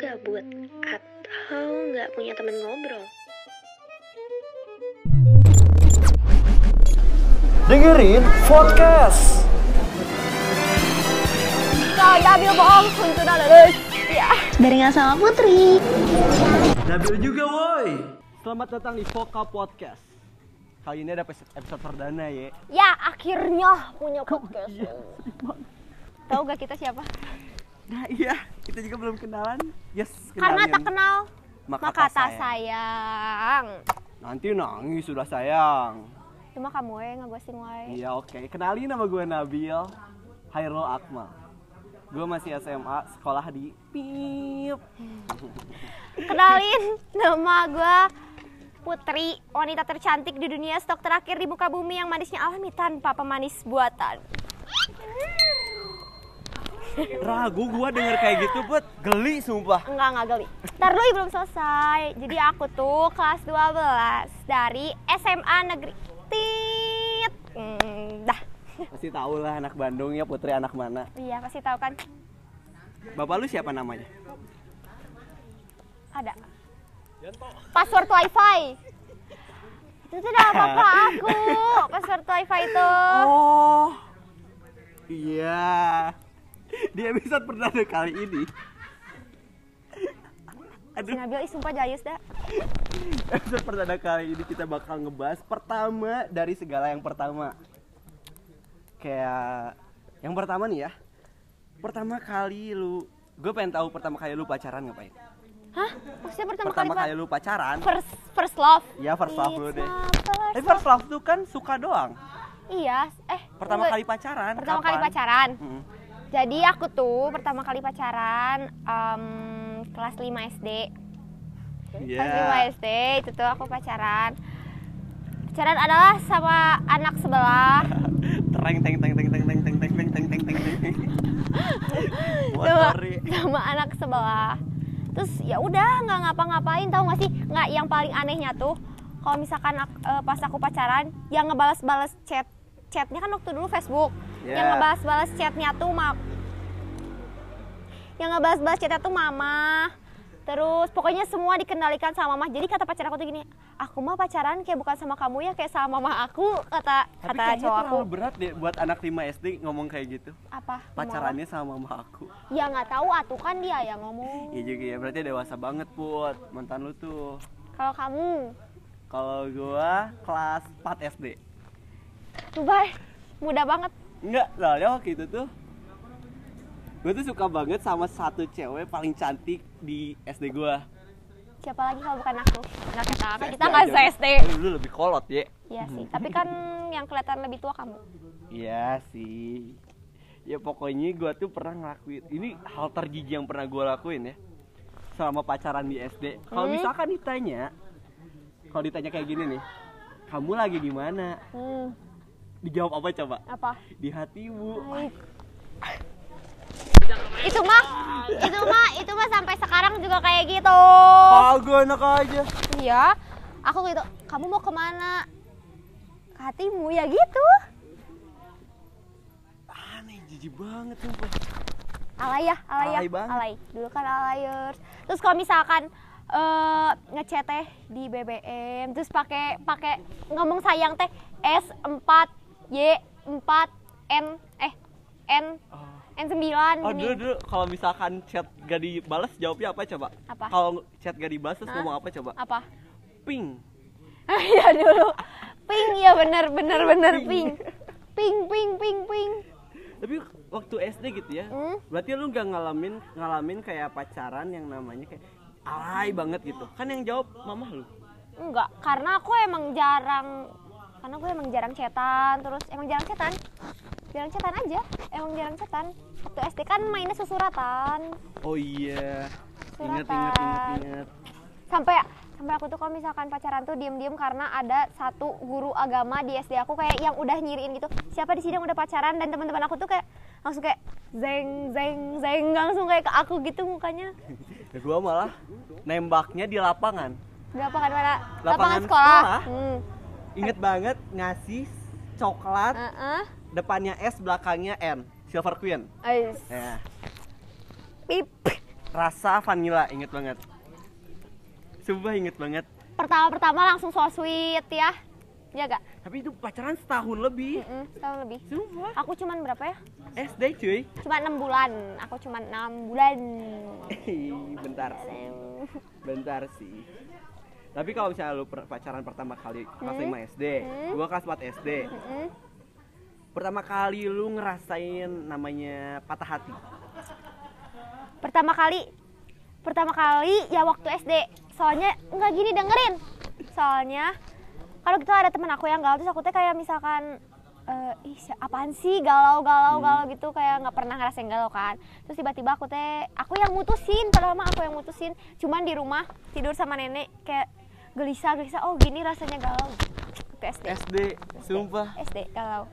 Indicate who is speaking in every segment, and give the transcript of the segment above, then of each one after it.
Speaker 1: gabut atau nggak punya teman ngobrol.
Speaker 2: dengerin podcast. Ya.
Speaker 1: Barengan sama Putri.
Speaker 2: Nabil juga woi. Selamat datang di Foka Podcast. Kali ini ada episode perdana ya.
Speaker 3: Ya, akhirnya punya podcast.
Speaker 2: iya,
Speaker 3: Tahu gak kita siapa?
Speaker 2: Nah iya, kita juga belum kenalan. Yes,
Speaker 3: Karena tak kenal,
Speaker 2: Maka
Speaker 3: maka,
Speaker 2: tak
Speaker 3: tak
Speaker 2: sayang.
Speaker 3: sayang.
Speaker 2: Nanti nangis sudah sayang.
Speaker 3: Cuma kamu ya nggak gue wae.
Speaker 2: Iya oke, kenalin nama gue Nabil Hairul Akmal. Gue masih SMA, sekolah di PIP.
Speaker 3: Kenalin, nama gue Putri, wanita tercantik di dunia stok terakhir di muka bumi yang manisnya alami tanpa pemanis buatan.
Speaker 2: Ragu gue denger kayak gitu, Put. Geli sumpah.
Speaker 3: Enggak, enggak geli. Ntar dulu belum selesai. Jadi aku tuh kelas 12 dari SMA Negeri Tit. Hmm, dah.
Speaker 2: Pasti tau lah anak Bandung ya, Putri anak mana.
Speaker 3: Iya, pasti tahu kan.
Speaker 2: Bapak lu siapa namanya?
Speaker 3: Ada. Password WiFi. Itu tuh nama papa aku. Password WiFi itu.
Speaker 2: Oh. Iya. Di episode perdana kali ini.
Speaker 3: Si
Speaker 2: Aduh,
Speaker 3: Nabil ih sumpah jayus dah.
Speaker 2: episode perdana kali ini kita bakal ngebahas pertama dari segala yang pertama. Kayak yang pertama nih ya. Pertama kali lu gue pengen tahu pertama kali lu pacaran ngapain?
Speaker 3: Hah? Maksudnya pertama,
Speaker 2: Pertama
Speaker 3: kali,
Speaker 2: kali lu pacaran?
Speaker 3: first first love.
Speaker 2: Ya first love lu
Speaker 3: It's
Speaker 2: deh.
Speaker 3: my first-
Speaker 2: Eh first love tuh kan suka doang.
Speaker 3: Iya, eh
Speaker 2: Pertama
Speaker 3: enggak.
Speaker 2: kali pacaran.
Speaker 3: pertama
Speaker 2: kapan?
Speaker 3: kali pacaran.
Speaker 2: Mm-mm.
Speaker 3: Jadi aku tuh pertama kali pacaran em, kelas 5 SD.
Speaker 2: Iya.
Speaker 3: Kelas 5 SD itu tuh aku pacaran. Pacaran adalah sama anak sebelah.
Speaker 2: Tereng teng teng teng teng teng teng teng teng teng teng teng teng.
Speaker 3: sama,
Speaker 2: Motor ya.
Speaker 3: sama anak sebelah terus ya udah nggak ngapa-ngapain tau gak sih nggak yang paling anehnya tuh kalau misalkan ak- eh, pas aku pacaran yang ngebalas-balas chat chatnya kan waktu dulu Facebook
Speaker 2: Ya.
Speaker 3: yang ngebalas-balas chatnya tuh ma yang ngebalas-balas chatnya tuh mama terus pokoknya semua dikendalikan sama mama jadi kata pacar aku tuh gini aku mah pacaran kayak bukan sama kamu ya kayak sama mama aku kata
Speaker 2: Tapi
Speaker 3: kata
Speaker 2: kayaknya
Speaker 3: cowok aku
Speaker 2: terlalu berat deh buat anak 5 SD ngomong kayak gitu.
Speaker 3: apa Ngomong apa?
Speaker 2: Pacarannya sama mama aku.
Speaker 3: ya nggak tahu atuh kan dia yang ngomong
Speaker 2: Iya juga ya, berarti dewasa banget Put mantan lu tuh.
Speaker 3: Kalau kamu,
Speaker 2: Kalau gua kelas 4 SD.
Speaker 3: Dubai, mudah banget.
Speaker 2: Enggak, soalnya waktu itu tuh Gue tuh suka banget sama satu cewek paling cantik di SD gua
Speaker 3: Siapa lagi kalau bukan aku? Nggak kita, kan kita nggak
Speaker 2: aja.
Speaker 3: se-SD.
Speaker 2: Lu lebih kolot ya
Speaker 3: Iya sih, tapi kan yang kelihatan lebih tua kamu.
Speaker 2: Iya sih. Ya pokoknya gue tuh pernah ngelakuin. Ini hal terjijik yang pernah gue lakuin ya. Selama pacaran di SD. Kalau
Speaker 3: Hmm.
Speaker 2: misalkan ditanya, kalau ditanya kayak gini nih, kamu lagi di mana?
Speaker 3: Hmm,
Speaker 2: Dijawab apa coba?
Speaker 3: apa?
Speaker 2: Di hatimu.
Speaker 3: Itu mah, itu mah, itu mah sampai sekarang juga kayak gitu.
Speaker 2: Ah, gue enak aja.
Speaker 3: Iya, aku gitu. Kamu mau kemana? Ke hatimu ya gitu.
Speaker 2: Aneh, jijik banget sumpah.
Speaker 3: alay ya alay ya
Speaker 2: Alay banget.
Speaker 3: alay dulu kan alayers terus kalau misalkan eh ngechat teh di BBM terus pakai pakai ngomong sayang teh S 4 Y 4 N eh N
Speaker 2: Oh.
Speaker 3: N 9
Speaker 2: Oh
Speaker 3: gini
Speaker 2: dulu dulu kalau misalkan chat gak dibalas jawabnya apa coba?
Speaker 3: Apa?
Speaker 2: Kalau chat gak dibalas terus
Speaker 3: Hah?
Speaker 2: ngomong apa coba?
Speaker 3: apa
Speaker 2: Ping.
Speaker 3: ya dulu ping ya bener bener bener ping ping ping ping ping
Speaker 2: Tapi waktu SD gitu ya,
Speaker 3: Hmm.
Speaker 2: berarti lu nggak ngalamin ngalamin kayak pacaran yang namanya kayak alay banget gitu. Kan yang jawab mamah lu.
Speaker 3: enggak karena aku emang jarang karena gue emang jarang cetan terus emang jarang cetan jarang cetan aja emang jarang cetan waktu SD kan mainnya susuratan
Speaker 2: Oh iya. Ingat
Speaker 3: Suratan.
Speaker 2: ingat ingat ingat.
Speaker 3: sampai sampai aku tuh kalau misalkan pacaran tuh diem-diem karena ada satu guru agama di SD aku kayak yang udah nyiriin gitu siapa di sini yang udah pacaran dan teman-teman aku tuh kayak langsung kayak zeng zeng zeng langsung kayak ke aku gitu mukanya
Speaker 2: Ya, gua malah nembaknya di lapangan.
Speaker 3: berapa kan mana
Speaker 2: Lapangan
Speaker 3: sekolah,
Speaker 2: sekolah?
Speaker 3: Hmm.
Speaker 2: Ingat banget ngasih coklat
Speaker 3: Heeh.
Speaker 2: depannya S belakangnya N. Silver Queen.
Speaker 3: Ais.
Speaker 2: Ya.
Speaker 3: pip
Speaker 2: rasa vanilla inget banget sumpah inget banget
Speaker 3: Pertama-pertama langsung so sweet ya. Iya gak?
Speaker 2: tapi itu pacaran setahun lebih
Speaker 3: Mm, setahun lebih.
Speaker 2: sumpah
Speaker 3: Aku cuman berapa ya?
Speaker 2: SD cuy
Speaker 3: Cuma enam bulan. Aku cuma enam bulan.
Speaker 2: Ih, bentar sih bentar sih tapi kalau misalnya lu per- pacaran pertama kali kelas
Speaker 3: Hmm?
Speaker 2: 5 SD
Speaker 3: Hmm?
Speaker 2: gua kelas 4 SD
Speaker 3: Mm,
Speaker 2: pertama kali lu ngerasain namanya patah hati
Speaker 3: Pertama kali, pertama kali ya waktu SD. Soalnya nggak gini dengerin. Soalnya kalau gitu ada teman aku yang galau terus aku teh kayak misalkan eh, ih si- apaan sih galau galau galau gitu kayak nggak pernah ngerasain galau kan terus tiba-tiba aku teh aku yang mutusin padahal mah aku yang mutusin cuman di rumah tidur sama nenek kayak gelisah gelisah oh gini rasanya galau Waktu SD
Speaker 2: SD sumpah
Speaker 3: SD kalau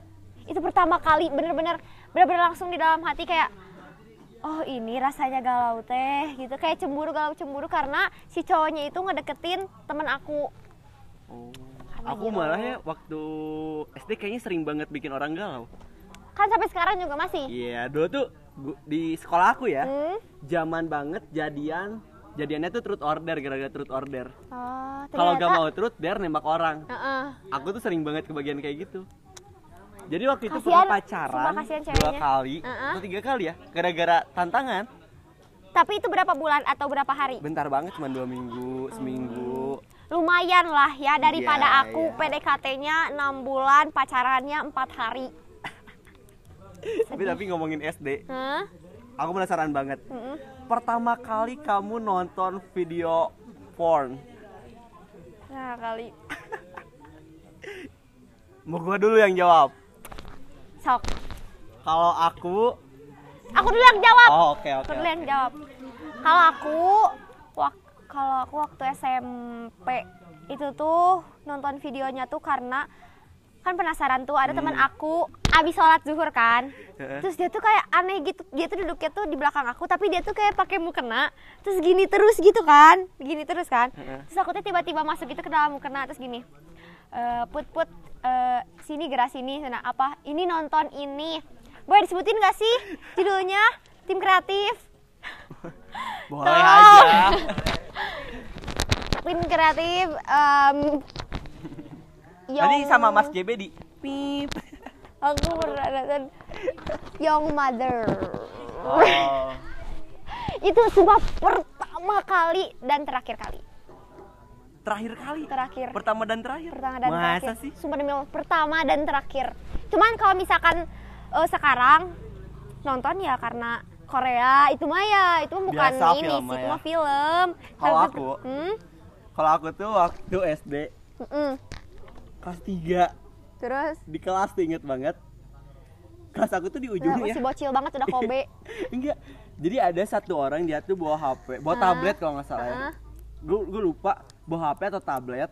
Speaker 3: itu pertama kali bener-bener bener-bener langsung di dalam hati kayak oh ini rasanya galau teh gitu kayak cemburu galau cemburu karena si cowoknya itu ngedeketin temen aku
Speaker 2: Oh.
Speaker 3: Apa
Speaker 2: Aku
Speaker 3: gitu?
Speaker 2: malah ya waktu SD kayaknya sering banget bikin orang galau.
Speaker 3: kan sampai sekarang juga masih
Speaker 2: Iya, dulu tuh gu- di sekolah aku ya,
Speaker 3: hmm?
Speaker 2: zaman banget jadian jadiannya tuh truth order gara-gara truth order.
Speaker 3: oh,
Speaker 2: Kalau
Speaker 3: ternyata-
Speaker 2: gak mau truth, biar nembak orang.
Speaker 3: Heeh.
Speaker 2: Aku tuh sering banget kebagian kayak gitu. Jadi waktu itu
Speaker 3: Kasian,
Speaker 2: pernah pacaran
Speaker 3: sumpah kasian
Speaker 2: dua
Speaker 3: ceweknya.
Speaker 2: kali
Speaker 3: Heeh.
Speaker 2: atau tiga kali ya, gara-gara tantangan.
Speaker 3: tapi itu berapa bulan atau berapa hari
Speaker 2: Bentar banget, cuma dua minggu, seminggu.
Speaker 3: Oh, lumayan lah ya daripada
Speaker 2: Iya,
Speaker 3: aku
Speaker 2: iya.
Speaker 3: PDKT-nya 6 bulan pacarannya 4 hari
Speaker 2: Tapi tapi ngomongin SD,
Speaker 3: Hah? Hmm.
Speaker 2: aku penasaran banget.
Speaker 3: Mm-mm.
Speaker 2: Pertama kali kamu nonton video porn,
Speaker 3: nah kali
Speaker 2: mau gua dulu yang jawab.
Speaker 3: sok
Speaker 2: Kalau aku,
Speaker 3: aku dulu yang jawab
Speaker 2: oh oke oke.
Speaker 3: Aku dulu
Speaker 2: oke.
Speaker 3: yang jawab. Kalau aku, wak- kalau aku waktu SMP itu tuh nonton videonya tuh karena kan penasaran tuh ada teman aku abis sholat zuhur kan
Speaker 2: Hmm. Heeh.
Speaker 3: terus dia tuh kayak aneh gitu dia tuh duduknya tuh di belakang aku tapi dia tuh kayak pakai mukena terus gini terus gitu kan gini terus kan
Speaker 2: Heeh.
Speaker 3: terus aku tuh tiba-tiba masuk gitu ke dalam mukena terus gini "Eh, put put eh, sini gerak sini sana apa ini nonton ini boleh disebutin gak sih judulnya tim kreatif
Speaker 2: Boleh
Speaker 3: Tolong.
Speaker 2: aja.
Speaker 3: tim kreatif em
Speaker 2: Tadi
Speaker 3: Young-
Speaker 2: sama Mas JB di pip.
Speaker 3: aku pernah nonton Young Mother
Speaker 2: Oh.
Speaker 3: itu sumpah pertama kali dan terakhir kali
Speaker 2: Terakhir kali.
Speaker 3: terakhir
Speaker 2: Pertama dan terakhir.
Speaker 3: pertama dan
Speaker 2: Masa
Speaker 3: terakhir
Speaker 2: sih?
Speaker 3: sumpah demi Allah, pertama dan terakhir cuman kalau misalkan eh, sekarang nonton ya karena Korea itu mah ya itu mah bukan
Speaker 2: Biasa
Speaker 3: ini
Speaker 2: film
Speaker 3: sih
Speaker 2: mah
Speaker 3: itu
Speaker 2: ya.
Speaker 3: mah film
Speaker 2: Kalau
Speaker 3: Tapi-
Speaker 2: aku,
Speaker 3: hmm?
Speaker 2: Kalau aku tuh waktu SD
Speaker 3: Mm-mm.
Speaker 2: kelas 3
Speaker 3: terus
Speaker 2: di kelas tuh inget banget. Kelas aku tuh di
Speaker 3: Nah,
Speaker 2: ujungnya.
Speaker 3: masih bocil banget udah kobe
Speaker 2: Enggak. Jadi ada satu orang dia tuh bawa HP, bawa
Speaker 3: Ah.
Speaker 2: tablet kalau nggak salah ya.
Speaker 3: Ah.
Speaker 2: Gue gue lupa bawa HP atau tablet.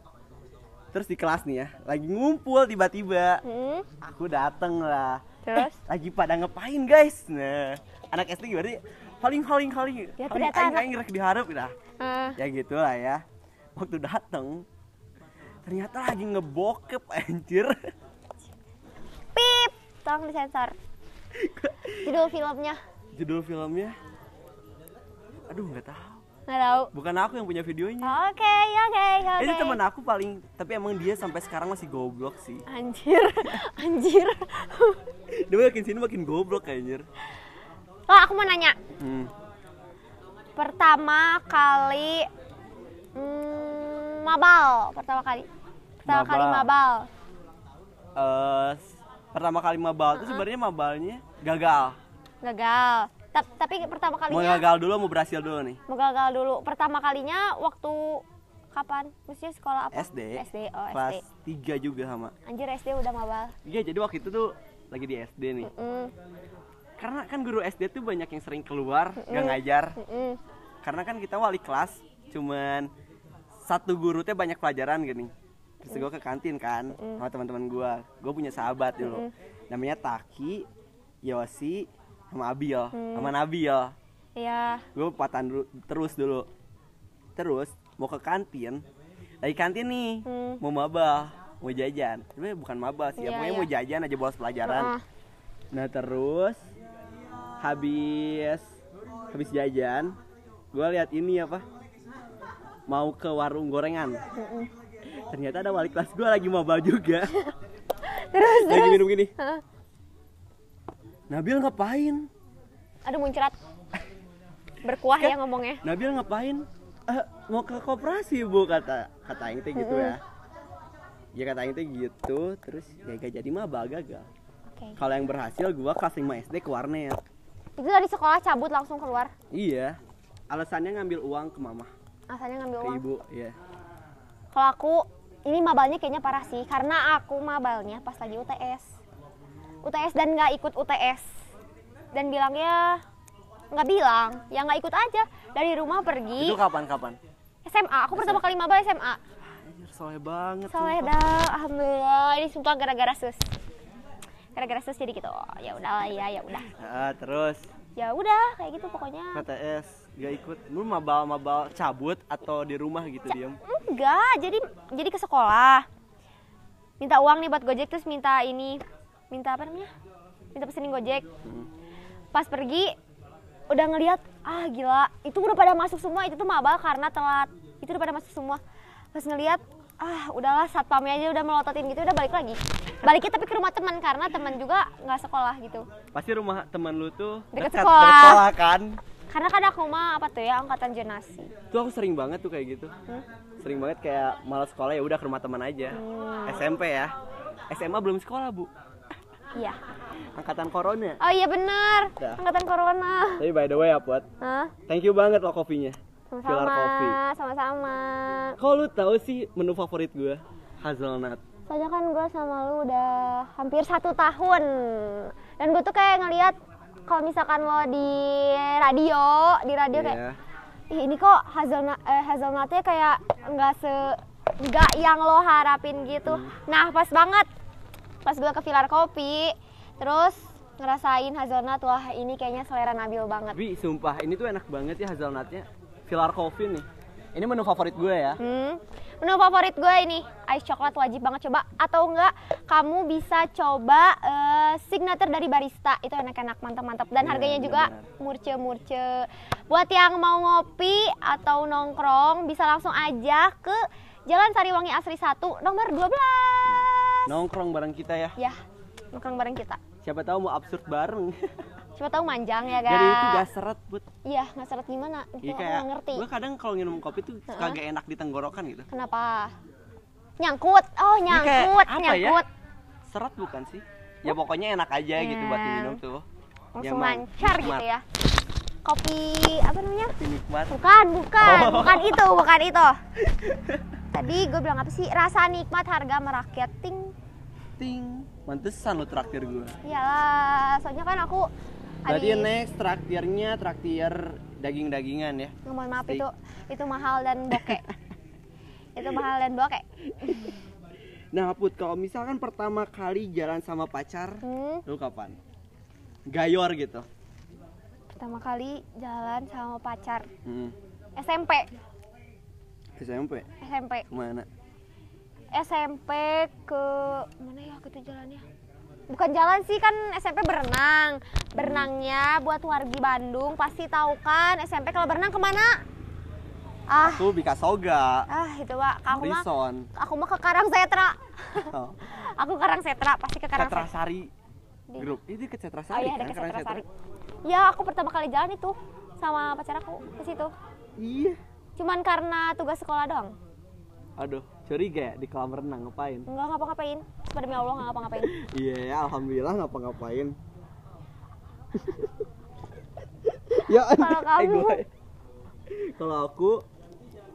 Speaker 2: Terus di kelas nih ya, lagi ngumpul tiba-tiba.
Speaker 3: Hmm,
Speaker 2: Aku dateng lah. Eh,
Speaker 3: terus
Speaker 2: Lagi pada ngapain guys? Nah, anak SD gimana? sih? Haling haling haling.
Speaker 3: Ya,
Speaker 2: haling
Speaker 3: ternyata
Speaker 2: aing
Speaker 3: anak-
Speaker 2: aing rek diharap lah.
Speaker 3: eh,
Speaker 2: Ya gitulah ya. Waktu dateng ternyata lagi ngebokep anjir.
Speaker 3: pip tolong disensor judul filmnya
Speaker 2: Judul filmnya Aduh nggak tahu.
Speaker 3: nggak tahu
Speaker 2: Bukan aku yang punya videonya.
Speaker 3: oke oke oke
Speaker 2: Itu temen aku paling, tapi emang dia sampai sekarang masih goblok sih.
Speaker 3: anjir anjir
Speaker 2: Dia makin sini makin goblok kayaknya.
Speaker 3: oh aku mau nanya
Speaker 2: Hmm.
Speaker 3: pertama kali mm, mabal pertama kali pertama kali
Speaker 2: Mabal.
Speaker 3: mabal
Speaker 2: Eh, s- pertama kali mabal tuh sebenarnya mabalnya gagal.
Speaker 3: gagal Ta- tapi pertama
Speaker 2: Mau
Speaker 3: kalinya
Speaker 2: gagal dulu mau berhasil dulu nih.
Speaker 3: mau gagal dulu pertama kalinya waktu kapan maksudnya sekolah apa
Speaker 2: SD.
Speaker 3: SD oh
Speaker 2: Kelas
Speaker 3: SD
Speaker 2: 3 juga sama.
Speaker 3: anjir SD udah mabal
Speaker 2: Iya, jadi waktu itu tuh lagi di SD nih.
Speaker 3: Mm,
Speaker 2: Karena kan guru SD tuh banyak yang sering keluar, gak ngajar.
Speaker 3: mm.
Speaker 2: Karena kan kita wali kelas, cuman satu guru teh banyak pelajaran gini. Terus gue ke kantin kan sama teman-teman gue. Gue punya sahabat dulu. Namanya Taki, Yosi, sama Abil, sama Nabil.
Speaker 3: ya
Speaker 2: Gue patahan dulu, terus dulu. Terus mau ke kantin. Lagi kantin nih,
Speaker 3: Hmm.
Speaker 2: mau mabah, mau jajan. Sebenarnya bukan mabah sih, ya,
Speaker 3: Iya,
Speaker 2: pokoknya
Speaker 3: iya.
Speaker 2: mau jajan aja bolos pelajaran.
Speaker 3: Heeh.
Speaker 2: Nah terus habis habis jajan gua lihat ini apa mau ke warung gorengan ternyata ada wali kelas gua lagi mabal juga
Speaker 3: terus
Speaker 2: lagi
Speaker 3: terus
Speaker 2: minum gini
Speaker 3: Hah?
Speaker 2: Nabil ngapain
Speaker 3: aduh muncrat berkuah
Speaker 2: Kan?
Speaker 3: ya ngomongnya
Speaker 2: Nabil ngapain "Eh, mau ke koperasi bu kata kata Aing teh gitu ya ya kata Aing teh gitu terus ya gak jadi mabal gagal
Speaker 3: oke
Speaker 2: kalau yang berhasil gua kelas 5 SD ke warnet
Speaker 3: itu dari sekolah cabut langsung keluar
Speaker 2: iya alasannya ngambil uang ke mama
Speaker 3: asalnya ngambil
Speaker 2: ke
Speaker 3: uang
Speaker 2: ibu ya
Speaker 3: kalau aku ini mabalnya kayaknya parah sih karena aku mabalnya pas lagi UTS UTS dan nggak ikut UTS dan bilangnya nggak bilang ya nggak ikut aja dari rumah pergi
Speaker 2: itu kapan kapan
Speaker 3: SMA aku pertama kali mabal SMA
Speaker 2: Anjir, soleh banget
Speaker 3: Soleh
Speaker 2: sumpah.
Speaker 3: dah, alhamdulillah ini sumpah gara-gara sus gara-gara sus jadi gitu Oh, ya udah lah ya ya udah
Speaker 2: Ah, terus
Speaker 3: ya udah kayak gitu pokoknya
Speaker 2: PTS gak ikut lu mabal mabal cabut atau di rumah gitu
Speaker 3: Ya.
Speaker 2: diem
Speaker 3: enggak jadi jadi ke sekolah minta uang nih buat gojek terus minta ini minta apa namanya minta pesenin gojek pas pergi udah ngelihat ah gila itu udah pada masuk semua itu tuh mabal karena telat itu udah pada masuk semua pas ngelihat ah udahlah satpamnya aja udah melototin gitu udah balik lagi baliknya tapi ke rumah teman karena teman juga nggak sekolah gitu
Speaker 2: pasti rumah teman lu tuh
Speaker 3: Deket
Speaker 2: dekat
Speaker 3: sekolah.
Speaker 2: dari sekolah kan
Speaker 3: karena kan aku mah apa tuh ya angkatan jenasi
Speaker 2: tuh aku sering banget tuh kayak gitu sering banget kayak malas sekolah ya udah ke rumah teman aja
Speaker 3: Oh.
Speaker 2: SMP ya SMA belum sekolah bu
Speaker 3: iya
Speaker 2: angkatan corona
Speaker 3: oh iya benar
Speaker 2: Dah.
Speaker 3: angkatan corona
Speaker 2: tapi by the way ya buat
Speaker 3: Hah?
Speaker 2: thank you banget lo kopinya Pilar
Speaker 3: sama-sama
Speaker 2: kopi
Speaker 3: sama-sama
Speaker 2: kalau lu tahu sih menu favorit gue hazelnut
Speaker 3: soalnya kan gue sama lu udah hampir satu tahun dan gue tuh kayak ngelihat kalau misalkan lo di radio di radio kayak
Speaker 2: Iya.
Speaker 3: Ih, ini kok hazelnut eh, hazelnutnya kayak nggak se nggak yang lo harapin gitu
Speaker 2: Hmm.
Speaker 3: nah pas banget pas gue ke Pilar kopi terus ngerasain hazelnut wah ini kayaknya selera Nabil banget
Speaker 2: Tapi sumpah ini tuh enak banget ya hazelnutnya. Pilar Coffee nih. Ini menu favorit gue ya.
Speaker 3: Hmm. Menu favorit gue ini ice coklat wajib banget coba atau enggak kamu bisa coba eh, signature dari barista itu enak-enak mantap-mantap
Speaker 2: Iya,
Speaker 3: dan harganya
Speaker 2: benar,
Speaker 3: juga
Speaker 2: benar.
Speaker 3: murce-murce. Buat yang mau ngopi atau nongkrong bisa langsung aja ke Jalan Sariwangi Asri 1 nomor 12.
Speaker 2: Nongkrong bareng kita ya.
Speaker 3: Ya, nongkrong bareng kita.
Speaker 2: Siapa tahu mau absurd bareng.
Speaker 3: Coba tahu manjang ya,
Speaker 2: Jadi itu
Speaker 3: guys.
Speaker 2: gak seret but.
Speaker 3: Iya, nggak seret gimana? Itu
Speaker 2: Iya,
Speaker 3: aku
Speaker 2: kayak
Speaker 3: nggak ngerti.
Speaker 2: gue kadang kalau minum kopi tuh suka gak enak di tenggorokan gitu.
Speaker 3: Kenapa? Nyangkut. Oh,
Speaker 2: Ini kayak
Speaker 3: nyangkut,
Speaker 2: apa ya?
Speaker 3: nyangkut.
Speaker 2: Seret bukan sih? Ya pokoknya enak aja gitu buat diminum tuh. Ya,
Speaker 3: langsung
Speaker 2: emang
Speaker 3: lancar
Speaker 2: nikmat.
Speaker 3: gitu ya kopi apa namanya
Speaker 2: Kopi nikmat.
Speaker 3: bukan bukan
Speaker 2: Oh.
Speaker 3: bukan itu bukan itu tadi gue bilang apa sih rasa nikmat harga merakyat ting
Speaker 2: Ting. Mantesan lo traktir gue.
Speaker 3: iyalah soalnya kan aku
Speaker 2: Berarti
Speaker 3: habis
Speaker 2: next traktirnya traktir daging-dagingan ya.
Speaker 3: mohon maaf
Speaker 2: steak.
Speaker 3: itu itu mahal dan bokek itu mahal dan bokek
Speaker 2: Nah Put, kalau misalkan pertama kali jalan sama pacar,
Speaker 3: hmm,
Speaker 2: Lu kapan? Gayor gitu.
Speaker 3: pertama kali jalan sama pacar
Speaker 2: Hmm.
Speaker 3: SMP
Speaker 2: SMP
Speaker 3: SMP
Speaker 2: kemana?
Speaker 3: SMP ke mana ya aku tuh jalannya? Bukan jalan sih kan SMP berenang. Berenangnya buat wargi Bandung pasti tahu kan SMP kalau berenang kemana? Ah,
Speaker 2: Aku Bika Soga,
Speaker 3: ah itu pak. Aku mah
Speaker 2: Rison,
Speaker 3: aku mah ke Karang Setra.
Speaker 2: oh,
Speaker 3: aku Karang Setra pasti ke Karang
Speaker 2: Cetra
Speaker 3: Setra.
Speaker 2: Sari
Speaker 3: Di-
Speaker 2: grup. Itu ke Cetra
Speaker 3: Oh
Speaker 2: Sari
Speaker 3: iya ada
Speaker 2: kan?
Speaker 3: ke
Speaker 2: Karang
Speaker 3: Setra
Speaker 2: Cetra.
Speaker 3: Sari. Ya aku pertama kali jalan itu sama pacar aku ke situ.
Speaker 2: Iya.
Speaker 3: Cuman karena tugas sekolah doang.
Speaker 2: Aduh, curiga ya di kolam renang ngapain?
Speaker 3: Enggak ngapa-ngapain. Sumpah demi Allah enggak ngapa-ngapain.
Speaker 2: Iya ya, alhamdulillah ngapa-ngapain. ya,
Speaker 3: Kalau
Speaker 2: eh,
Speaker 3: kamu?
Speaker 2: gue- Kalau aku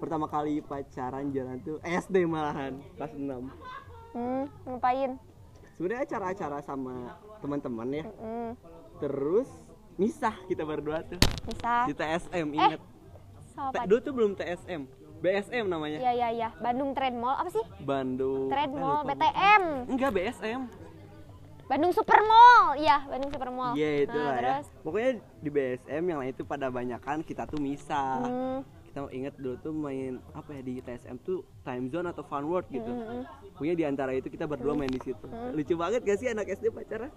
Speaker 2: pertama kali pacaran jalan tuh SD malahan kelas 6
Speaker 3: Hmm, ngapain?
Speaker 2: sebenarnya acara-acara sama teman-teman ya
Speaker 3: Hmm,
Speaker 2: terus misah kita berdua tuh
Speaker 3: bisa.
Speaker 2: di TSM
Speaker 3: Eh,
Speaker 2: inget
Speaker 3: Sama
Speaker 2: T-
Speaker 3: pacar.
Speaker 2: dulu tuh belum TSM BSM namanya
Speaker 3: Iya iya iya, Bandung Trend Mall apa sih?
Speaker 2: Bandung
Speaker 3: Trend
Speaker 2: Eh,
Speaker 3: Mall
Speaker 2: lupa.
Speaker 3: BTM,
Speaker 2: enggak BSM
Speaker 3: Bandung Super Mall. Iya, Bandung Super Mall.
Speaker 2: iya itu
Speaker 3: Nah,
Speaker 2: lah ya
Speaker 3: terus
Speaker 2: pokoknya di BSM yang lain itu pada banyakan kita tuh misah
Speaker 3: hmm,
Speaker 2: kita inget dulu tuh main apa ya di TSM tuh time zone atau fun world gitu
Speaker 3: Mm-hmm.
Speaker 2: punya di antara itu kita berdua main di situ lucu banget gak sih anak SD pacaran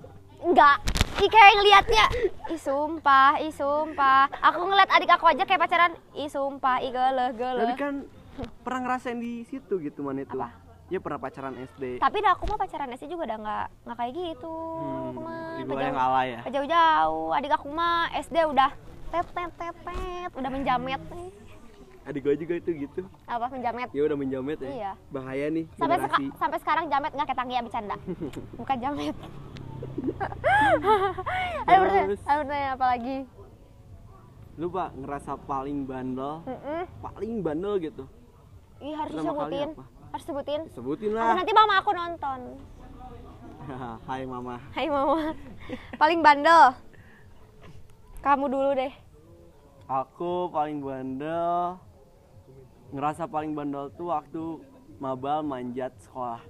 Speaker 3: Enggak. Ih kayak ngelihatnya, ih sumpah, ih sumpah. Aku ngeliat adik aku aja kayak pacaran, ih sumpah, ih geleh
Speaker 2: tapi
Speaker 3: geleh.
Speaker 2: kan pernah ngerasain di situ gitu man itu
Speaker 3: Apa?
Speaker 2: ya pernah pacaran SD
Speaker 3: Tapi dah aku mah pacaran sih juga udah nggak nggak kayak gitu. Aku
Speaker 2: di
Speaker 3: mah
Speaker 2: bawah
Speaker 3: kejauh-
Speaker 2: Hmm, yang ala ya
Speaker 3: kejauh-jauh. Adik aku mah SD udah tet tet tet tet, udah menjamet. Ih,
Speaker 2: adik gue juga itu gitu
Speaker 3: Apa menjamet?
Speaker 2: ya udah menjamet ya
Speaker 3: Iya.
Speaker 2: bahaya nih
Speaker 3: Sampai seka-
Speaker 2: generasi
Speaker 3: sampai sekarang jamet nggak ketanggi ya bercanda. Bukan jamet. ada pertanyaan,
Speaker 2: Terus.
Speaker 3: ada pertanyaan apa lagi?
Speaker 2: lu pak ngerasa paling bandel
Speaker 3: Mm-mm.
Speaker 2: paling bandel gitu
Speaker 3: Ih harus
Speaker 2: Pertama kali
Speaker 3: disebutin.
Speaker 2: apa? Nah.
Speaker 3: Harus sebutin.
Speaker 2: sebutin
Speaker 3: Atau
Speaker 2: lah
Speaker 3: nanti mama aku nonton.
Speaker 2: hai mama
Speaker 3: Hai mama. Paling bandel. Kamu dulu deh.
Speaker 2: aku paling bandel ngerasa paling bandel tuh waktu mabal manjat sekolah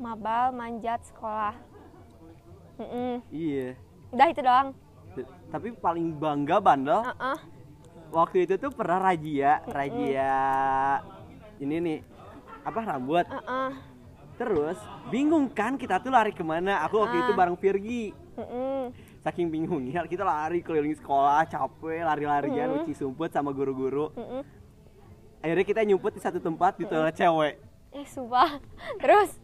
Speaker 3: Mabal, manjat, sekolah. Mm-mm.
Speaker 2: iya
Speaker 3: Udah itu doang.
Speaker 2: T- tapi paling bangga bandel
Speaker 3: Uh-uh.
Speaker 2: waktu itu tuh pernah rajia rajia ini nih apa rambut
Speaker 3: Uh-uh.
Speaker 2: terus bingung kan kita tuh lari kemana aku waktu itu bareng Virgi
Speaker 3: Mm-mm.
Speaker 2: saking bingungnya kita lari keliling sekolah capek lari-larian uci sumput sama guru-guru
Speaker 3: Mm-mm.
Speaker 2: akhirnya kita nyumput di satu tempat di toilet cewek
Speaker 3: Eh, sumpah. Terus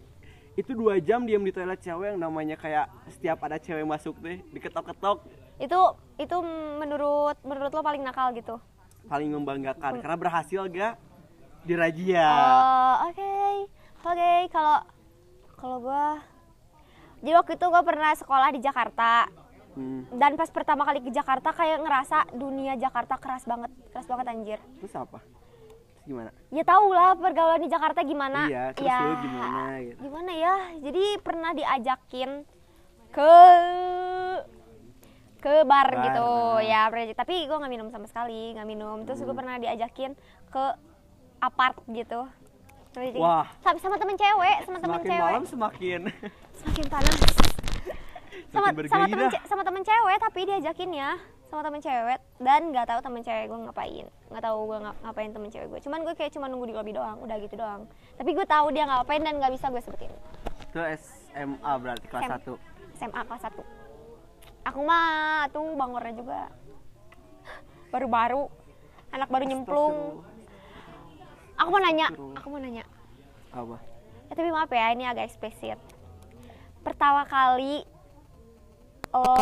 Speaker 2: itu dua jam diam di toilet cewek yang namanya kayak setiap ada cewek masuk deh diketok-ketok
Speaker 3: itu itu menurut menurut lo paling nakal gitu.
Speaker 2: paling membanggakan karena berhasil gak dirajia
Speaker 3: Oh, oke. Oke, kalau kalau gua jadi waktu itu gua pernah sekolah di Jakarta.
Speaker 2: Hmm,
Speaker 3: Dan pas pertama kali ke Jakarta kayak ngerasa dunia Jakarta keras banget, keras banget anjir.
Speaker 2: terus apa terus gimana
Speaker 3: Ya tau lah pergaulan di Jakarta gimana.
Speaker 2: iya terus
Speaker 3: Ya,
Speaker 2: lu gimana gitu
Speaker 3: Gimana ya? Jadi pernah diajakin ke ke bar,
Speaker 2: Bar,
Speaker 3: gitu
Speaker 2: ah. Hmm.
Speaker 3: ya pernah- tapi gue nggak minum sama sekali nggak minum terus gue pernah diajakin ke apart gitu Terus jadi-
Speaker 2: Wah.
Speaker 3: tapi sama temen cewek sama temen
Speaker 2: semakin
Speaker 3: cewek
Speaker 2: malam semakin
Speaker 3: semakin panas sama
Speaker 2: Makin
Speaker 3: sama temen
Speaker 2: bergairah.
Speaker 3: ce- sama temen cewek tapi diajakin ya sama temen cewek dan nggak tahu temen cewek gue ngapain nggak tahu gue ngap- ngapain temen cewek gue cuman gue kayak cuma nunggu di lobby doang udah gitu doang tapi gue tahu dia ngapain dan nggak bisa gue sebutin
Speaker 2: itu SMA berarti kelas
Speaker 3: SMA.
Speaker 2: 1
Speaker 3: SMA kelas 1 aku mah tuh bangornya juga baru-baru anak baru nyemplung aku mau nanya aku mau nanya
Speaker 2: apa
Speaker 3: Eh, tapi maaf ya, ini agak eksplisit. Pertama kali lo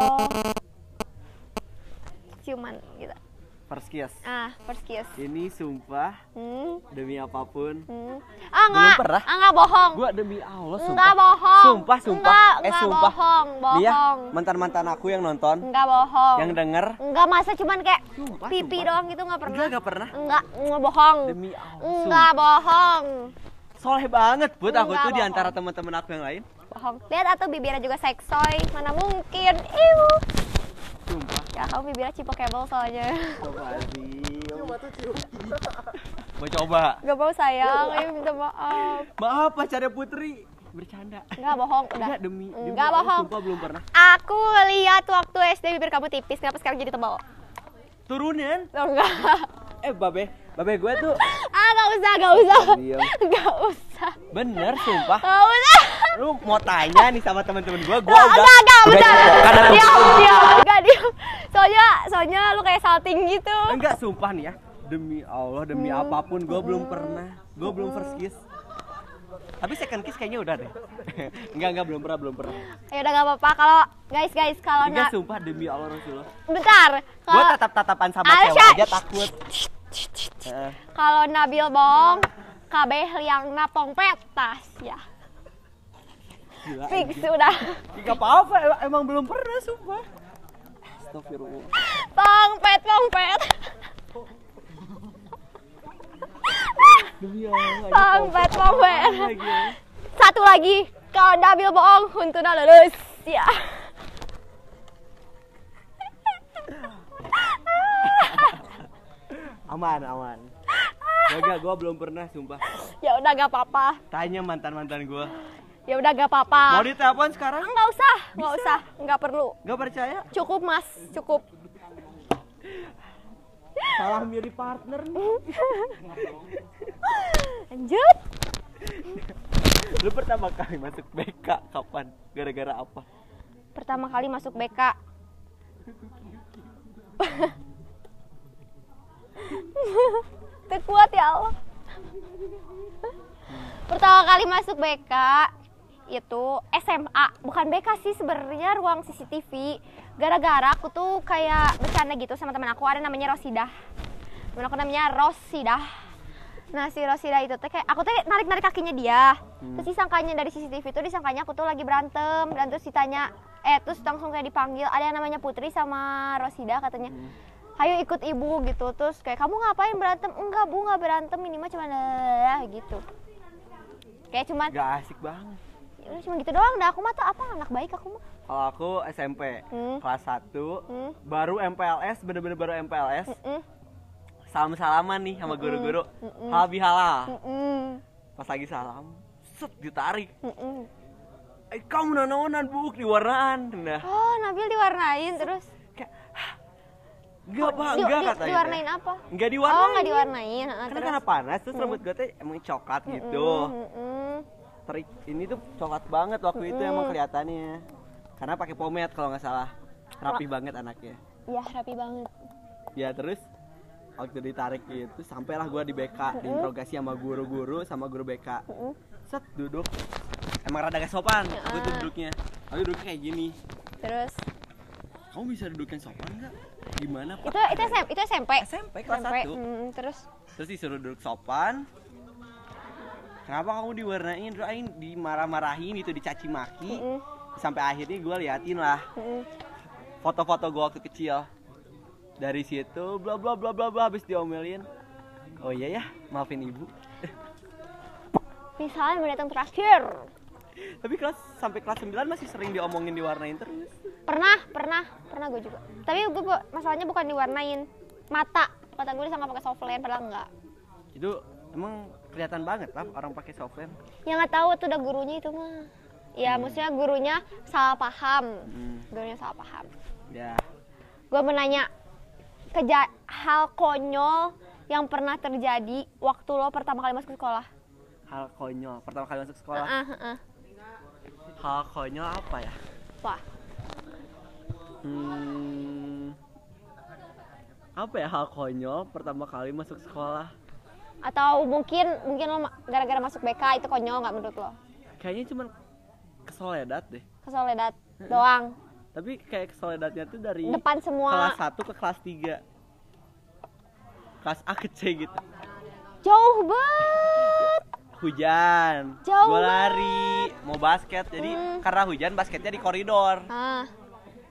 Speaker 3: ciuman gitu.
Speaker 2: first kiss
Speaker 3: Ah, first kiss.
Speaker 2: ini sumpah
Speaker 3: Hmm,
Speaker 2: demi apapun
Speaker 3: hmm. Ah, enggak.
Speaker 2: pernah.
Speaker 3: Ah, enggak bohong.
Speaker 2: gua demi Allah sumpah
Speaker 3: Enggak bohong.
Speaker 2: sumpah sumpah
Speaker 3: Enggak,
Speaker 2: eh
Speaker 3: enggak
Speaker 2: sumpah
Speaker 3: bohong, bohong.
Speaker 2: Nih ya, mantan-mantan aku yang nonton
Speaker 3: Enggak bohong.
Speaker 2: yang denger
Speaker 3: Enggak, masa cuman kayak
Speaker 2: Sumpah,
Speaker 3: pipi
Speaker 2: sumpah.
Speaker 3: doang gitu enggak pernah.
Speaker 2: Enggak, enggak pernah.
Speaker 3: Enggak, enggak bohong.
Speaker 2: Demi Allah,
Speaker 3: Enggak bohong.
Speaker 2: soleh banget buat aku
Speaker 3: Enggak,
Speaker 2: tuh di
Speaker 3: bohong.
Speaker 2: antara teman-teman aku yang lain
Speaker 3: Bohong. Lihat atau bibirnya juga seksoy, mana mungkin. Iu.
Speaker 2: sumpah
Speaker 3: Ya, kamu bibirnya cipokable soalnya.
Speaker 2: coba mau coba
Speaker 3: Gak mau sayang, ini minta maaf.
Speaker 2: maaf pacarnya Putri bercanda
Speaker 3: Nggak bohong, udah.
Speaker 2: enggak demi demi
Speaker 3: Nggak
Speaker 2: Allah,
Speaker 3: bohong.
Speaker 2: sumpah belum pernah
Speaker 3: Aku lihat waktu SD bibir kamu tipis, kenapa sekarang jadi tebal?
Speaker 2: turunin
Speaker 3: Oh, enggak.
Speaker 2: eh babe babe gue tuh
Speaker 3: Ah, nggak usah, nggak usah.
Speaker 2: Diam.
Speaker 3: Nggak usah.
Speaker 2: bener sumpah
Speaker 3: Nggak usah.
Speaker 2: lu mau tanya nih sama teman-teman gue gue
Speaker 3: Nggak,
Speaker 2: udah
Speaker 3: nggak, nggak
Speaker 2: udah
Speaker 3: usah.
Speaker 2: cekokan sama-
Speaker 3: Diam, diam. Nggak, diam. Soalnya, soalnya lu kayak salting gitu.
Speaker 2: enggak sumpah nih ya demi Allah demi apapun gue belum pernah gue belum first kiss tapi second kiss kayaknya udah deh enggak enggak belum pernah belum pernah
Speaker 3: Ya udah nggak apa-apa. Kalau guys, guys, kalau
Speaker 2: enggak
Speaker 3: nggak,
Speaker 2: sumpah demi Allah Rasulullah
Speaker 3: bentar.
Speaker 2: gue
Speaker 3: Kalau
Speaker 2: tatap tatapan sama
Speaker 3: Arsya.
Speaker 2: cewek aja takut Eh, Heeh.
Speaker 3: kalau Nabil bohong, kabeh liang napong petas ya.
Speaker 2: gila
Speaker 3: Fix udah.
Speaker 2: enggak apa-apa em- emang belum pernah sumpah Astagfirullah
Speaker 3: Pongpet, pongpet.
Speaker 2: demi Allah ini
Speaker 3: Sampai
Speaker 2: apaan
Speaker 3: Tomer.
Speaker 2: lagi ya?
Speaker 3: Satu lagi, kalau Nabil bohong, Huntuna lulus. Ya.
Speaker 2: aman aman Gak, gue belum pernah sumpah
Speaker 3: Ya udah gak apa-apa.
Speaker 2: Tanya mantan-mantan gue
Speaker 3: Ya udah gak
Speaker 2: Mau
Speaker 3: apa-apa.
Speaker 2: ditelepon sekarang?
Speaker 3: Enggak usah, enggak usah, enggak perlu.
Speaker 2: Gak percaya?
Speaker 3: Cukup, Mas, cukup.
Speaker 2: salah milih partner nih.
Speaker 3: lanjut
Speaker 2: Lu pertama kali masuk BK kapan? Gara-gara apa?
Speaker 3: pertama kali masuk BK Teu kuat ya Allah pertama kali masuk BK itu SMA bukan BK sih sebenarnya ruang CCTV gara-gara aku tuh kayak bercanda gitu sama teman aku ada namanya Rosidah temen aku namanya Rosidah Nah si Rosida itu teh kayak aku teh narik narik kakinya dia.
Speaker 2: Hmm.
Speaker 3: Terus disangkanya dari CCTV itu disangkanya aku tuh lagi berantem dan terus ditanya eh terus langsung kayak dipanggil ada yang namanya Putri sama Rosida katanya.
Speaker 2: Hmm.
Speaker 3: Ayo ikut ibu gitu terus kayak kamu ngapain berantem? Enggak bu nggak berantem ini mah cuma gitu. Kayak cuman
Speaker 2: Gak asik banget.
Speaker 3: "Lu cuma gitu doang dah aku mah tuh apa anak baik aku mah.
Speaker 2: Kalau aku SMP
Speaker 3: Hmm.
Speaker 2: kelas 1
Speaker 3: Hmm.
Speaker 2: baru MPLS bener-bener baru MPLS
Speaker 3: Mm,
Speaker 2: salam salaman nih sama guru-guru halal bihalal
Speaker 3: mm,
Speaker 2: pas lagi salam set ditarik
Speaker 3: mm, mm.
Speaker 2: eh kamu nanonan buk di warnaan nah
Speaker 3: Oh Nabil diwarnain terus.
Speaker 2: kayak "Hah, enggak pak enggak
Speaker 3: Di- di-
Speaker 2: katanya
Speaker 3: Oh, Diwarnain apa?
Speaker 2: enggak diwarnain
Speaker 3: Oh nggak diwarnain. ah,
Speaker 2: karena
Speaker 3: terus.
Speaker 2: karena panas terus rambut gue teh emang coklat gitu
Speaker 3: Mm, mm.
Speaker 2: terik ini tuh coklat banget waktu itu emang kelihatannya karena pakai pomade kalau nggak salah rapi banget anaknya
Speaker 3: Iya rapi banget.
Speaker 2: ya terus waktu ditarik itu sampailah gua di BK diinterogasi sama guru-guru sama guru BK set duduk emang rada gak sopan
Speaker 3: Ya.
Speaker 2: aku tuh duduknya aku duduknya kayak gini
Speaker 3: Terus
Speaker 2: kamu bisa duduk yang sopan nggak gimana pak
Speaker 3: itu itu SMP itu SMP.
Speaker 2: SMP kelas
Speaker 3: SMP.
Speaker 2: satu.
Speaker 3: Mm, terus
Speaker 2: terus disuruh duduk sopan kenapa kamu diwarnain terus aing dimarah-marahin gitu dicaci maki
Speaker 3: Mm.
Speaker 2: sampai akhirnya gua liatin lah
Speaker 3: mm,
Speaker 2: foto-foto gua waktu kecil dari situ bla bla bla bla bla habis diomelin oh iya ya maafin ibu
Speaker 3: misalnya mau datang terakhir.
Speaker 2: tapi kelas sampai kelas 9 masih sering diomongin diwarnain terus
Speaker 3: Pernah pernah pernah gue juga. Tapi gue bu- masalahnya bukan diwarnain mata. Kata gue disangka pakai softline padahal enggak.
Speaker 2: itu emang kelihatan banget lah orang pakai softland
Speaker 3: Ya nggak tahu tuh udah gurunya itu mah. Ya
Speaker 2: Hmm.
Speaker 3: maksudnya gurunya salah paham. Gurunya salah paham.
Speaker 2: ya
Speaker 3: Gue mau nanya keja- hal konyol yang pernah terjadi waktu lo pertama kali masuk sekolah.
Speaker 2: hal konyol pertama kali masuk sekolah
Speaker 3: Heeh, heeh.
Speaker 2: hal konyol apa ya
Speaker 3: Wah,
Speaker 2: hmm, apa ya hal konyol pertama kali masuk sekolah
Speaker 3: atau mungkin mungkin lo ma- gara-gara masuk BK itu konyol nggak menurut lo
Speaker 2: kayaknya cuman kesoledat deh
Speaker 3: kesoledat doang
Speaker 2: tapi kayak kesoledatnya tuh dari
Speaker 3: depan semua
Speaker 2: kelas 1 ke kelas 3 kelas A ke C gitu
Speaker 3: jauh banget
Speaker 2: hujan
Speaker 3: Jauh
Speaker 2: gue lari mau basket jadi
Speaker 3: Hmm.
Speaker 2: karena hujan basketnya di koridor
Speaker 3: ah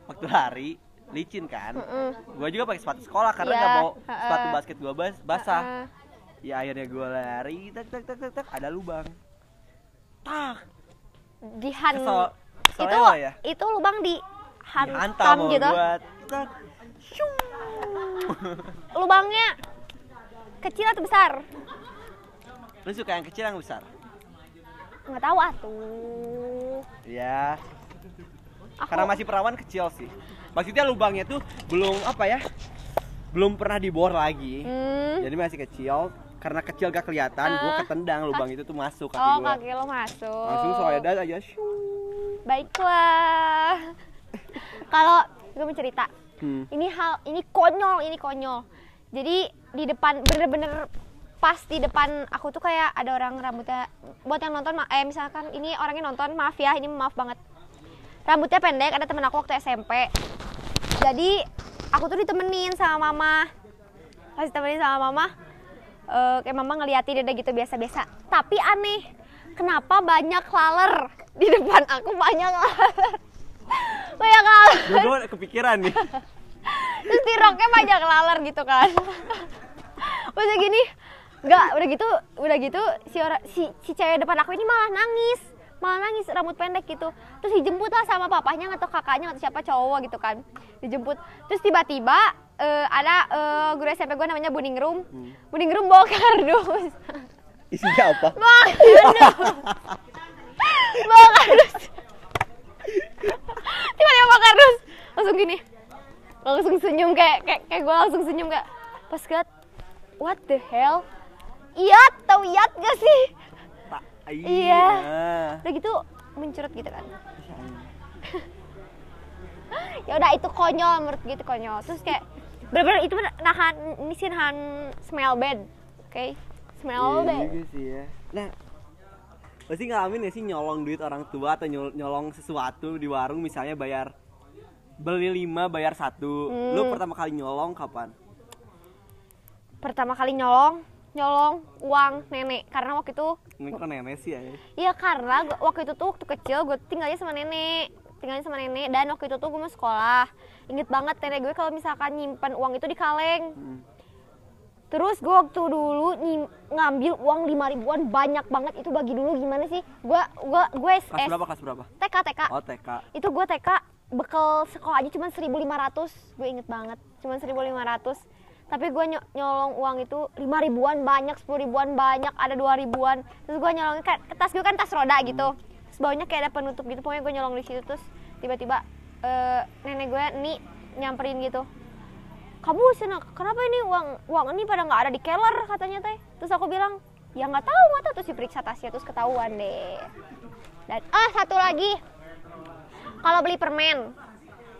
Speaker 2: waktu lari licin kan
Speaker 3: mm.
Speaker 2: gue juga pakai sepatu sekolah karena
Speaker 3: Iya,
Speaker 2: nggak mau
Speaker 3: ha-ha.
Speaker 2: sepatu basket gue bas basah
Speaker 3: ah.
Speaker 2: ya akhirnya gue lari tak tak tak tak tak ada lubang tak
Speaker 3: dihan
Speaker 2: kesel kesel
Speaker 3: itu
Speaker 2: lo ya
Speaker 3: itu lubang di
Speaker 2: hantam
Speaker 3: hantam
Speaker 2: mau
Speaker 3: gitu
Speaker 2: gua. Tak.
Speaker 3: lubangnya kecil atau besar
Speaker 2: lu suka yang kecil yang besar
Speaker 3: nggak tahu atuh
Speaker 2: ya
Speaker 3: Aku-
Speaker 2: karena masih perawan kecil sih maksudnya lubangnya tuh belum apa ya belum pernah dibor lagi
Speaker 3: Hmm.
Speaker 2: jadi masih kecil karena kecil gak kelihatan gue
Speaker 3: Ah.
Speaker 2: ketendang lubang itu tuh masuk kaki
Speaker 3: oh
Speaker 2: gua.
Speaker 3: kaki lo masuk
Speaker 2: langsung soledat aja shoo.
Speaker 3: baiklah kalau gue mau cerita
Speaker 2: hmm.
Speaker 3: ini hal ini konyol ini konyol jadi di depan bener-bener pas di depan aku tuh kayak ada orang rambutnya buat yang nonton ma- eh misalkan ini orangnya nonton maaf ya ini maaf banget rambutnya pendek ada temen aku waktu SMP jadi aku tuh ditemenin sama mama pas ditemenin sama mama eh, kayak mama ngeliatin dia gitu biasa-biasa tapi aneh kenapa banyak laler di depan aku banyak laler banyak laler
Speaker 2: gue gue kepikiran nih
Speaker 3: terus di roknya banyak laler gitu kan udah gini nggak udah gitu udah gitu si orang si, si cewek depan aku ini malah nangis malah nangis rambut pendek gitu terus dijemput lah sama papahnya atau kakaknya atau siapa cowok gitu kan dijemput terus tiba-tiba eh, ada eh, guru SMP gue namanya Buning Room Buning Room bawa kardus
Speaker 2: isinya apa
Speaker 3: bawa kardus bawa kardus tiba-tiba bawa kardus langsung gini langsung senyum kayak kayak, kayak gue langsung senyum kayak pas ngeliat what the hell iat tau iat gak sih
Speaker 2: Tak.
Speaker 3: Iya. udah gitu mencurut gitu kan ya udah itu konyol menurut gue itu konyol terus kayak bener-bener itu bener- nahan ini sih nahan smell bad oke smell
Speaker 2: Iya
Speaker 3: bad
Speaker 2: juga sih ya. Nah, pasti ngalamin ya sih nyolong duit orang tua atau nyol- nyolong sesuatu di warung misalnya bayar beli lima bayar satu. Lu pertama kali nyolong kapan?
Speaker 3: pertama kali nyolong nyolong uang nenek karena waktu itu
Speaker 2: Ini kok nenek sih ya.
Speaker 3: Iya karena gua- waktu itu tuh waktu kecil gue tinggalnya sama nenek tinggalnya sama nenek dan waktu itu tuh gue mau sekolah inget banget nenek gue kalau misalkan nyimpan uang itu di kaleng
Speaker 2: Hmm.
Speaker 3: terus gue waktu dulu nyim- ngambil uang lima ribuan banyak banget itu bagi dulu gimana sih gue gua gue
Speaker 2: Kelas
Speaker 3: SS
Speaker 2: berapa? Kelas berapa?
Speaker 3: TK TK
Speaker 2: Oh TK.
Speaker 3: itu gue TK bekal sekolahnya cuma 1.500 gue inget banget cuma 1.500 tapi gue nyo- nyolong uang itu 5 ribuan banyak 10 ribuan banyak ada 2 ribuan terus gue nyolong kan tas gue kan tas roda gitu terus bawahnya kayak ada penutup gitu pokoknya gue nyolong di situ terus tiba-tiba eh, nenek gue nih nyamperin gitu kamu sana kenapa ini uang uang ini pada nggak ada di keller katanya teh terus aku bilang ya nggak tahu mata terus diperiksa tasnya terus ketahuan deh dan ah satu lagi kalau beli permen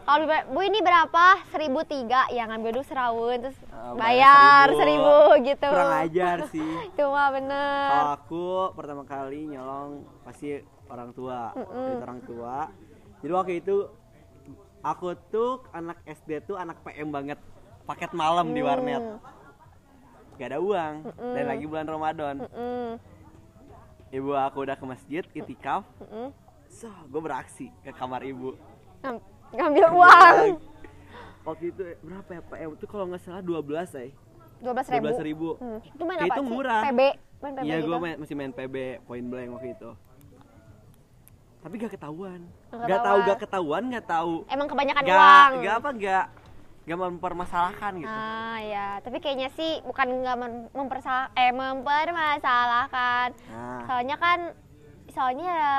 Speaker 3: kalau beli permen, bu ini berapa seribu tiga ya ngambil dulu serawun terus
Speaker 2: Oh,
Speaker 3: bayar
Speaker 2: bayar
Speaker 3: seribu,
Speaker 2: seribu.
Speaker 3: gitu
Speaker 2: Kurang Oh. ajar sih.
Speaker 3: itu mah bener
Speaker 2: Kalau aku pertama kali nyolong pasti orang tua, duit orang tua. Jadi waktu itu aku tuh anak SD tuh anak PM banget, paket malam di warnet. Gak ada uang dan lagi bulan Ramadan.
Speaker 3: Mm,
Speaker 2: Ibu aku udah ke masjid, itikaf.
Speaker 3: mm.
Speaker 2: So, gue beraksi ke kamar ibu.
Speaker 3: Ngam- ngambil uang
Speaker 2: Iya. Waktu itu berapa ya PM? Itu kalau nggak salah 12 ya.
Speaker 3: dua belas ribu
Speaker 2: 12 ribu.
Speaker 3: Hmm, itu main
Speaker 2: Kayak
Speaker 3: apa
Speaker 2: itu
Speaker 3: sih?
Speaker 2: murah.
Speaker 3: PB main PB
Speaker 2: Iya,
Speaker 3: gitu
Speaker 2: gue masih main PB point blank waktu itu. Tapi gak ketahuan. Gak
Speaker 3: Nggak
Speaker 2: tahu
Speaker 3: ketahuan.
Speaker 2: gak ketahuan, gak tahu.
Speaker 3: emang kebanyakan
Speaker 2: Gak
Speaker 3: uang
Speaker 2: gak apa gak gak mempermasalahkan gitu.
Speaker 3: ah ya tapi kayaknya sih bukan nggak mem- mempersa- eh mempermasalahkan
Speaker 2: Nah,
Speaker 3: soalnya kan soalnya ya,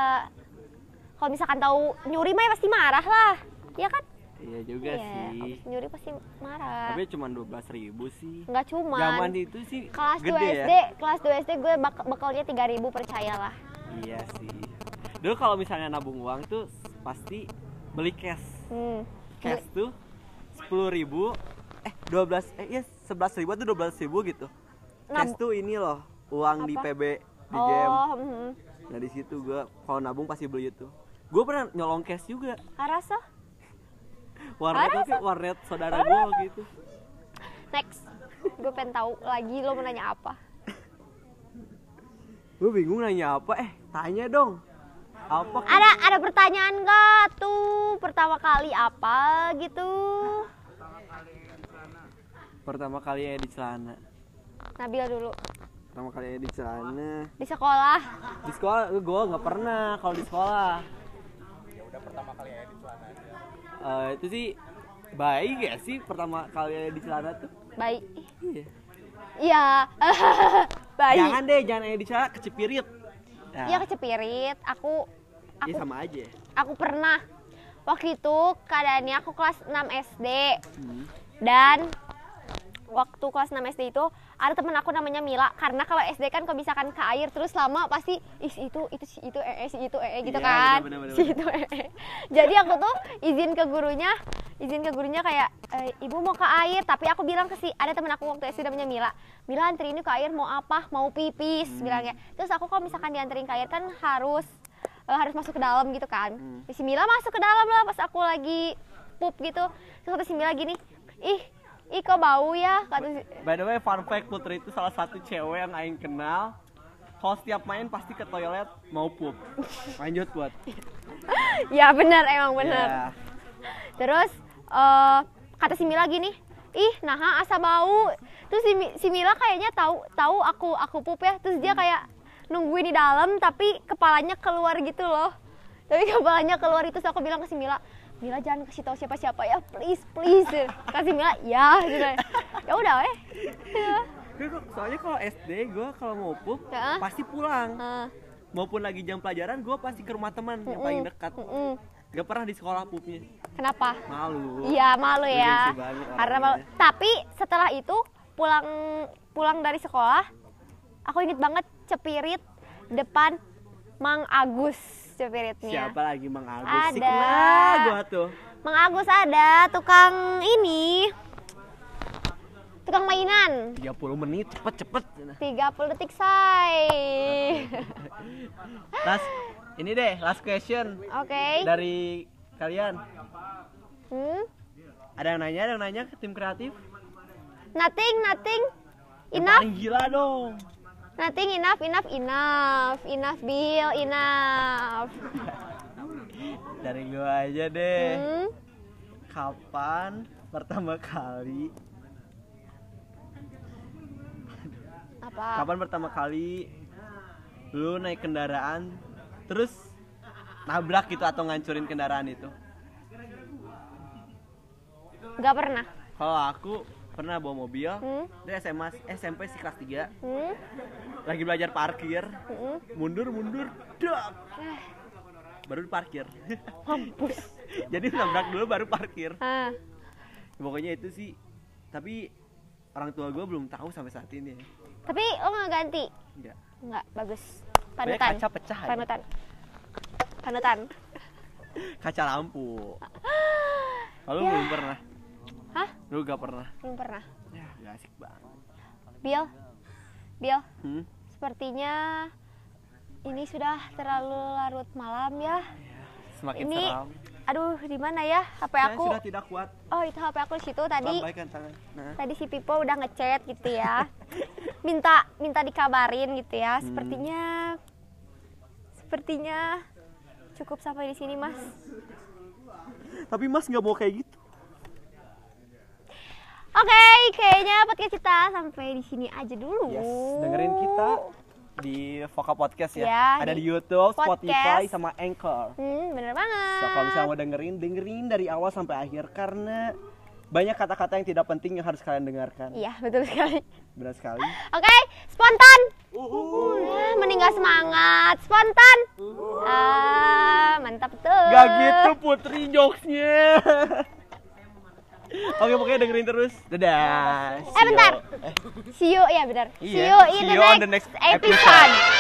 Speaker 3: kalau misalkan tahu nyuri mah ya pasti marah lah ya kan
Speaker 2: iya juga
Speaker 3: Iya,
Speaker 2: sih.
Speaker 3: abis nyuri pasti marah
Speaker 2: Tapi cuma 12 ribu sih.
Speaker 3: nggak cuman
Speaker 2: Zaman itu sih
Speaker 3: kelas
Speaker 2: gede
Speaker 3: 2 SD
Speaker 2: ya.
Speaker 3: kelas 2 SD gue bak- bekalnya 3000 percayalah
Speaker 2: Iya sih. Dulu kalau misalnya nabung uang tuh pasti beli cash.
Speaker 3: hmm.
Speaker 2: Cash tuh 10 ribu eh 12 eh iya 11 ribu atau 12 ribu gitu. Cash
Speaker 3: Nab-
Speaker 2: tuh ini loh uang di
Speaker 3: Apa?
Speaker 2: PB di jam.
Speaker 3: oh hmm.
Speaker 2: Nah di situ gua kalau nabung pasti beli itu. Gue pernah nyolong cash juga.
Speaker 3: Arasa
Speaker 2: Warnet
Speaker 3: Parah,
Speaker 2: tapi warnet saudara gua gitu.
Speaker 3: next gue pengen tahu lagi lo mau nanya apa
Speaker 2: Gue bingung nanya apa eh tanya dong. Apa
Speaker 3: ada ada pertanyaan nggak tuh pertama kali apa gitu
Speaker 2: pertama kali ya di celana?
Speaker 3: Nabila dulu
Speaker 2: Pertama kali ya di celana.
Speaker 3: di sekolah
Speaker 2: Di sekolah gue nggak pernah kalau di sekolah. Ya udah pertama kali ya di celana itu sih baik ya sih pertama kali aja di celana tuh.
Speaker 3: baik
Speaker 2: Iya.
Speaker 3: iya baik
Speaker 2: Jangan deh, jangan aja di celana kecipirit. Nah,
Speaker 3: Iya kecepirit. Aku
Speaker 2: iya
Speaker 3: aku
Speaker 2: sama aja.
Speaker 3: aku pernah waktu itu keadaannya aku kelas 6 SD
Speaker 2: Hmm.
Speaker 3: dan waktu kelas 6 SD itu ada temen aku namanya Mila karena kalau SD kan kalau misalkan ke air terus lama pasti is itu itu si itu eh eh, si itu eh eh," gitu
Speaker 2: Iya,
Speaker 3: kan
Speaker 2: benar, benar,
Speaker 3: si itu eh eh. jadi aku tuh izin ke gurunya izin ke gurunya kayak "Eh, ibu mau ke air tapi aku bilang ke si ada temen aku waktu SD namanya Mila Mila anterin yuk ke air mau apa mau pipis bilangnya terus aku kalau misalkan dianterin ke air kan harus eh, harus masuk ke dalam gitu kan si Mila masuk ke dalam lah pas aku lagi pup gitu terus kata si Mila gini ih ih kok bau ya kata si-
Speaker 2: By the way, fun fact Putri itu salah satu cewek yang aing kenal. Kalau setiap main pasti ke toilet mau pup. Lanjut buat.
Speaker 3: ya benar emang benar
Speaker 2: Ya.
Speaker 3: Terus eh kata si Mila gini, ih naha asa bau. Terus si, Mi- si Mila kayaknya tahu tahu aku aku pup ya. Terus dia kayak nungguin di dalam tapi kepalanya keluar gitu loh. Tapi kepalanya keluar itu aku bilang ke si Mila, Mila jangan kasih tahu siapa-siapa ya, please please. Kasih Mila, ya gitu. Ya udah eh.
Speaker 2: Gue kok- Soalnya kalau SD gue kalau mau pup
Speaker 3: Ya.
Speaker 2: pasti pulang.
Speaker 3: Nah,
Speaker 2: maupun lagi jam pelajaran gue pasti ke rumah teman yang paling dekat
Speaker 3: mm,
Speaker 2: gak pernah di sekolah pupnya
Speaker 3: kenapa?
Speaker 2: malu
Speaker 3: Iya malu ya.
Speaker 2: Bergengsi banget ya.
Speaker 3: Karena
Speaker 2: orangnya.
Speaker 3: malu. Tapi setelah itu pulang pulang dari sekolah aku inget banget cepirit depan Mang Agus cepiritnya
Speaker 2: Siapa lagi Mang Agus?
Speaker 3: Ada.
Speaker 2: Si kenal gua tuh.
Speaker 3: Mang Agus ada tukang ini tukang mainan
Speaker 2: 30 menit cepet cepet.
Speaker 3: 30 detik say
Speaker 2: Last ini deh last question
Speaker 3: oke
Speaker 2: dari kalian.
Speaker 3: hmm?
Speaker 2: Ada yang nanya, ada yang nanya ke tim kreatif?
Speaker 3: nothing nothing
Speaker 2: Yang
Speaker 3: enough
Speaker 2: paling gila dong.
Speaker 3: nothing enough enough enough enough Bill enough
Speaker 2: Dari gua aja deh.
Speaker 3: hmm?
Speaker 2: Kapan pertama kali?
Speaker 3: apa
Speaker 2: Kapan pertama kali lu naik kendaraan terus nabrak gitu atau ngancurin kendaraan itu?
Speaker 3: nggak pernah
Speaker 2: Kalau aku pernah bawa mobil
Speaker 3: Hmm?
Speaker 2: dari SMA SMP sih kelas 3
Speaker 3: Hmm?
Speaker 2: lagi belajar parkir
Speaker 3: Hmm? Eh.
Speaker 2: mundur mundur dak baru parkir
Speaker 3: Mampus.
Speaker 2: jadi nabrak dulu baru parkir
Speaker 3: Ah,
Speaker 2: pokoknya itu sih tapi orang tua gue belum tahu sampai saat ini ya.
Speaker 3: tapi lo nggak ganti
Speaker 2: Enggak.
Speaker 3: nggak bagus
Speaker 2: Banyak
Speaker 3: panutan
Speaker 2: kaca pecah aja.
Speaker 3: panutan panutan
Speaker 2: kaca lampu kalau belum pernah
Speaker 3: Ya. hah
Speaker 2: lu gak pernah
Speaker 3: belum pernah
Speaker 2: ya gak asik banget
Speaker 3: Bill Bill
Speaker 2: hmm?
Speaker 3: sepertinya ini sudah terlalu larut malam ya
Speaker 2: semakin
Speaker 3: ini
Speaker 2: seram
Speaker 3: aduh di mana ya HP
Speaker 2: saya
Speaker 3: aku
Speaker 2: sudah tidak kuat
Speaker 3: oh itu HP aku di situ tadi
Speaker 2: lambaikan tangan nah
Speaker 3: tadi si Pipo udah ngechat gitu ya minta minta dikabarin gitu ya
Speaker 2: Hmm.
Speaker 3: sepertinya sepertinya cukup sampai di sini mas
Speaker 2: tapi mas nggak mau kayak gitu
Speaker 3: oke kayaknya podcast kita sampai di sini aja dulu
Speaker 2: Yes, dengerin kita di Voka Podcast ya.
Speaker 3: Ya,
Speaker 2: Ada
Speaker 3: di
Speaker 2: di YouTube,
Speaker 3: podcast.
Speaker 2: Spotify, sama Anchor.
Speaker 3: hmm, bener banget
Speaker 2: So, kalau misalnya mau dengerin, dengerin dari awal sampai akhir karena banyak kata-kata yang tidak penting yang harus kalian dengarkan.
Speaker 3: iya betul sekali
Speaker 2: Berat sekali.
Speaker 3: oke spontan
Speaker 2: Uhuh.
Speaker 3: Ah, meninggal semangat spontan ah mantap tuh
Speaker 2: Gak gitu Putri jokesnya. Oke, pokoknya dengerin terus. Dadah. See you.
Speaker 3: bentar.
Speaker 2: Eh,
Speaker 3: see you ya benar
Speaker 2: Iya,
Speaker 3: see you in
Speaker 2: see
Speaker 3: the
Speaker 2: you on
Speaker 3: next,
Speaker 2: the next
Speaker 3: episode.
Speaker 2: episode.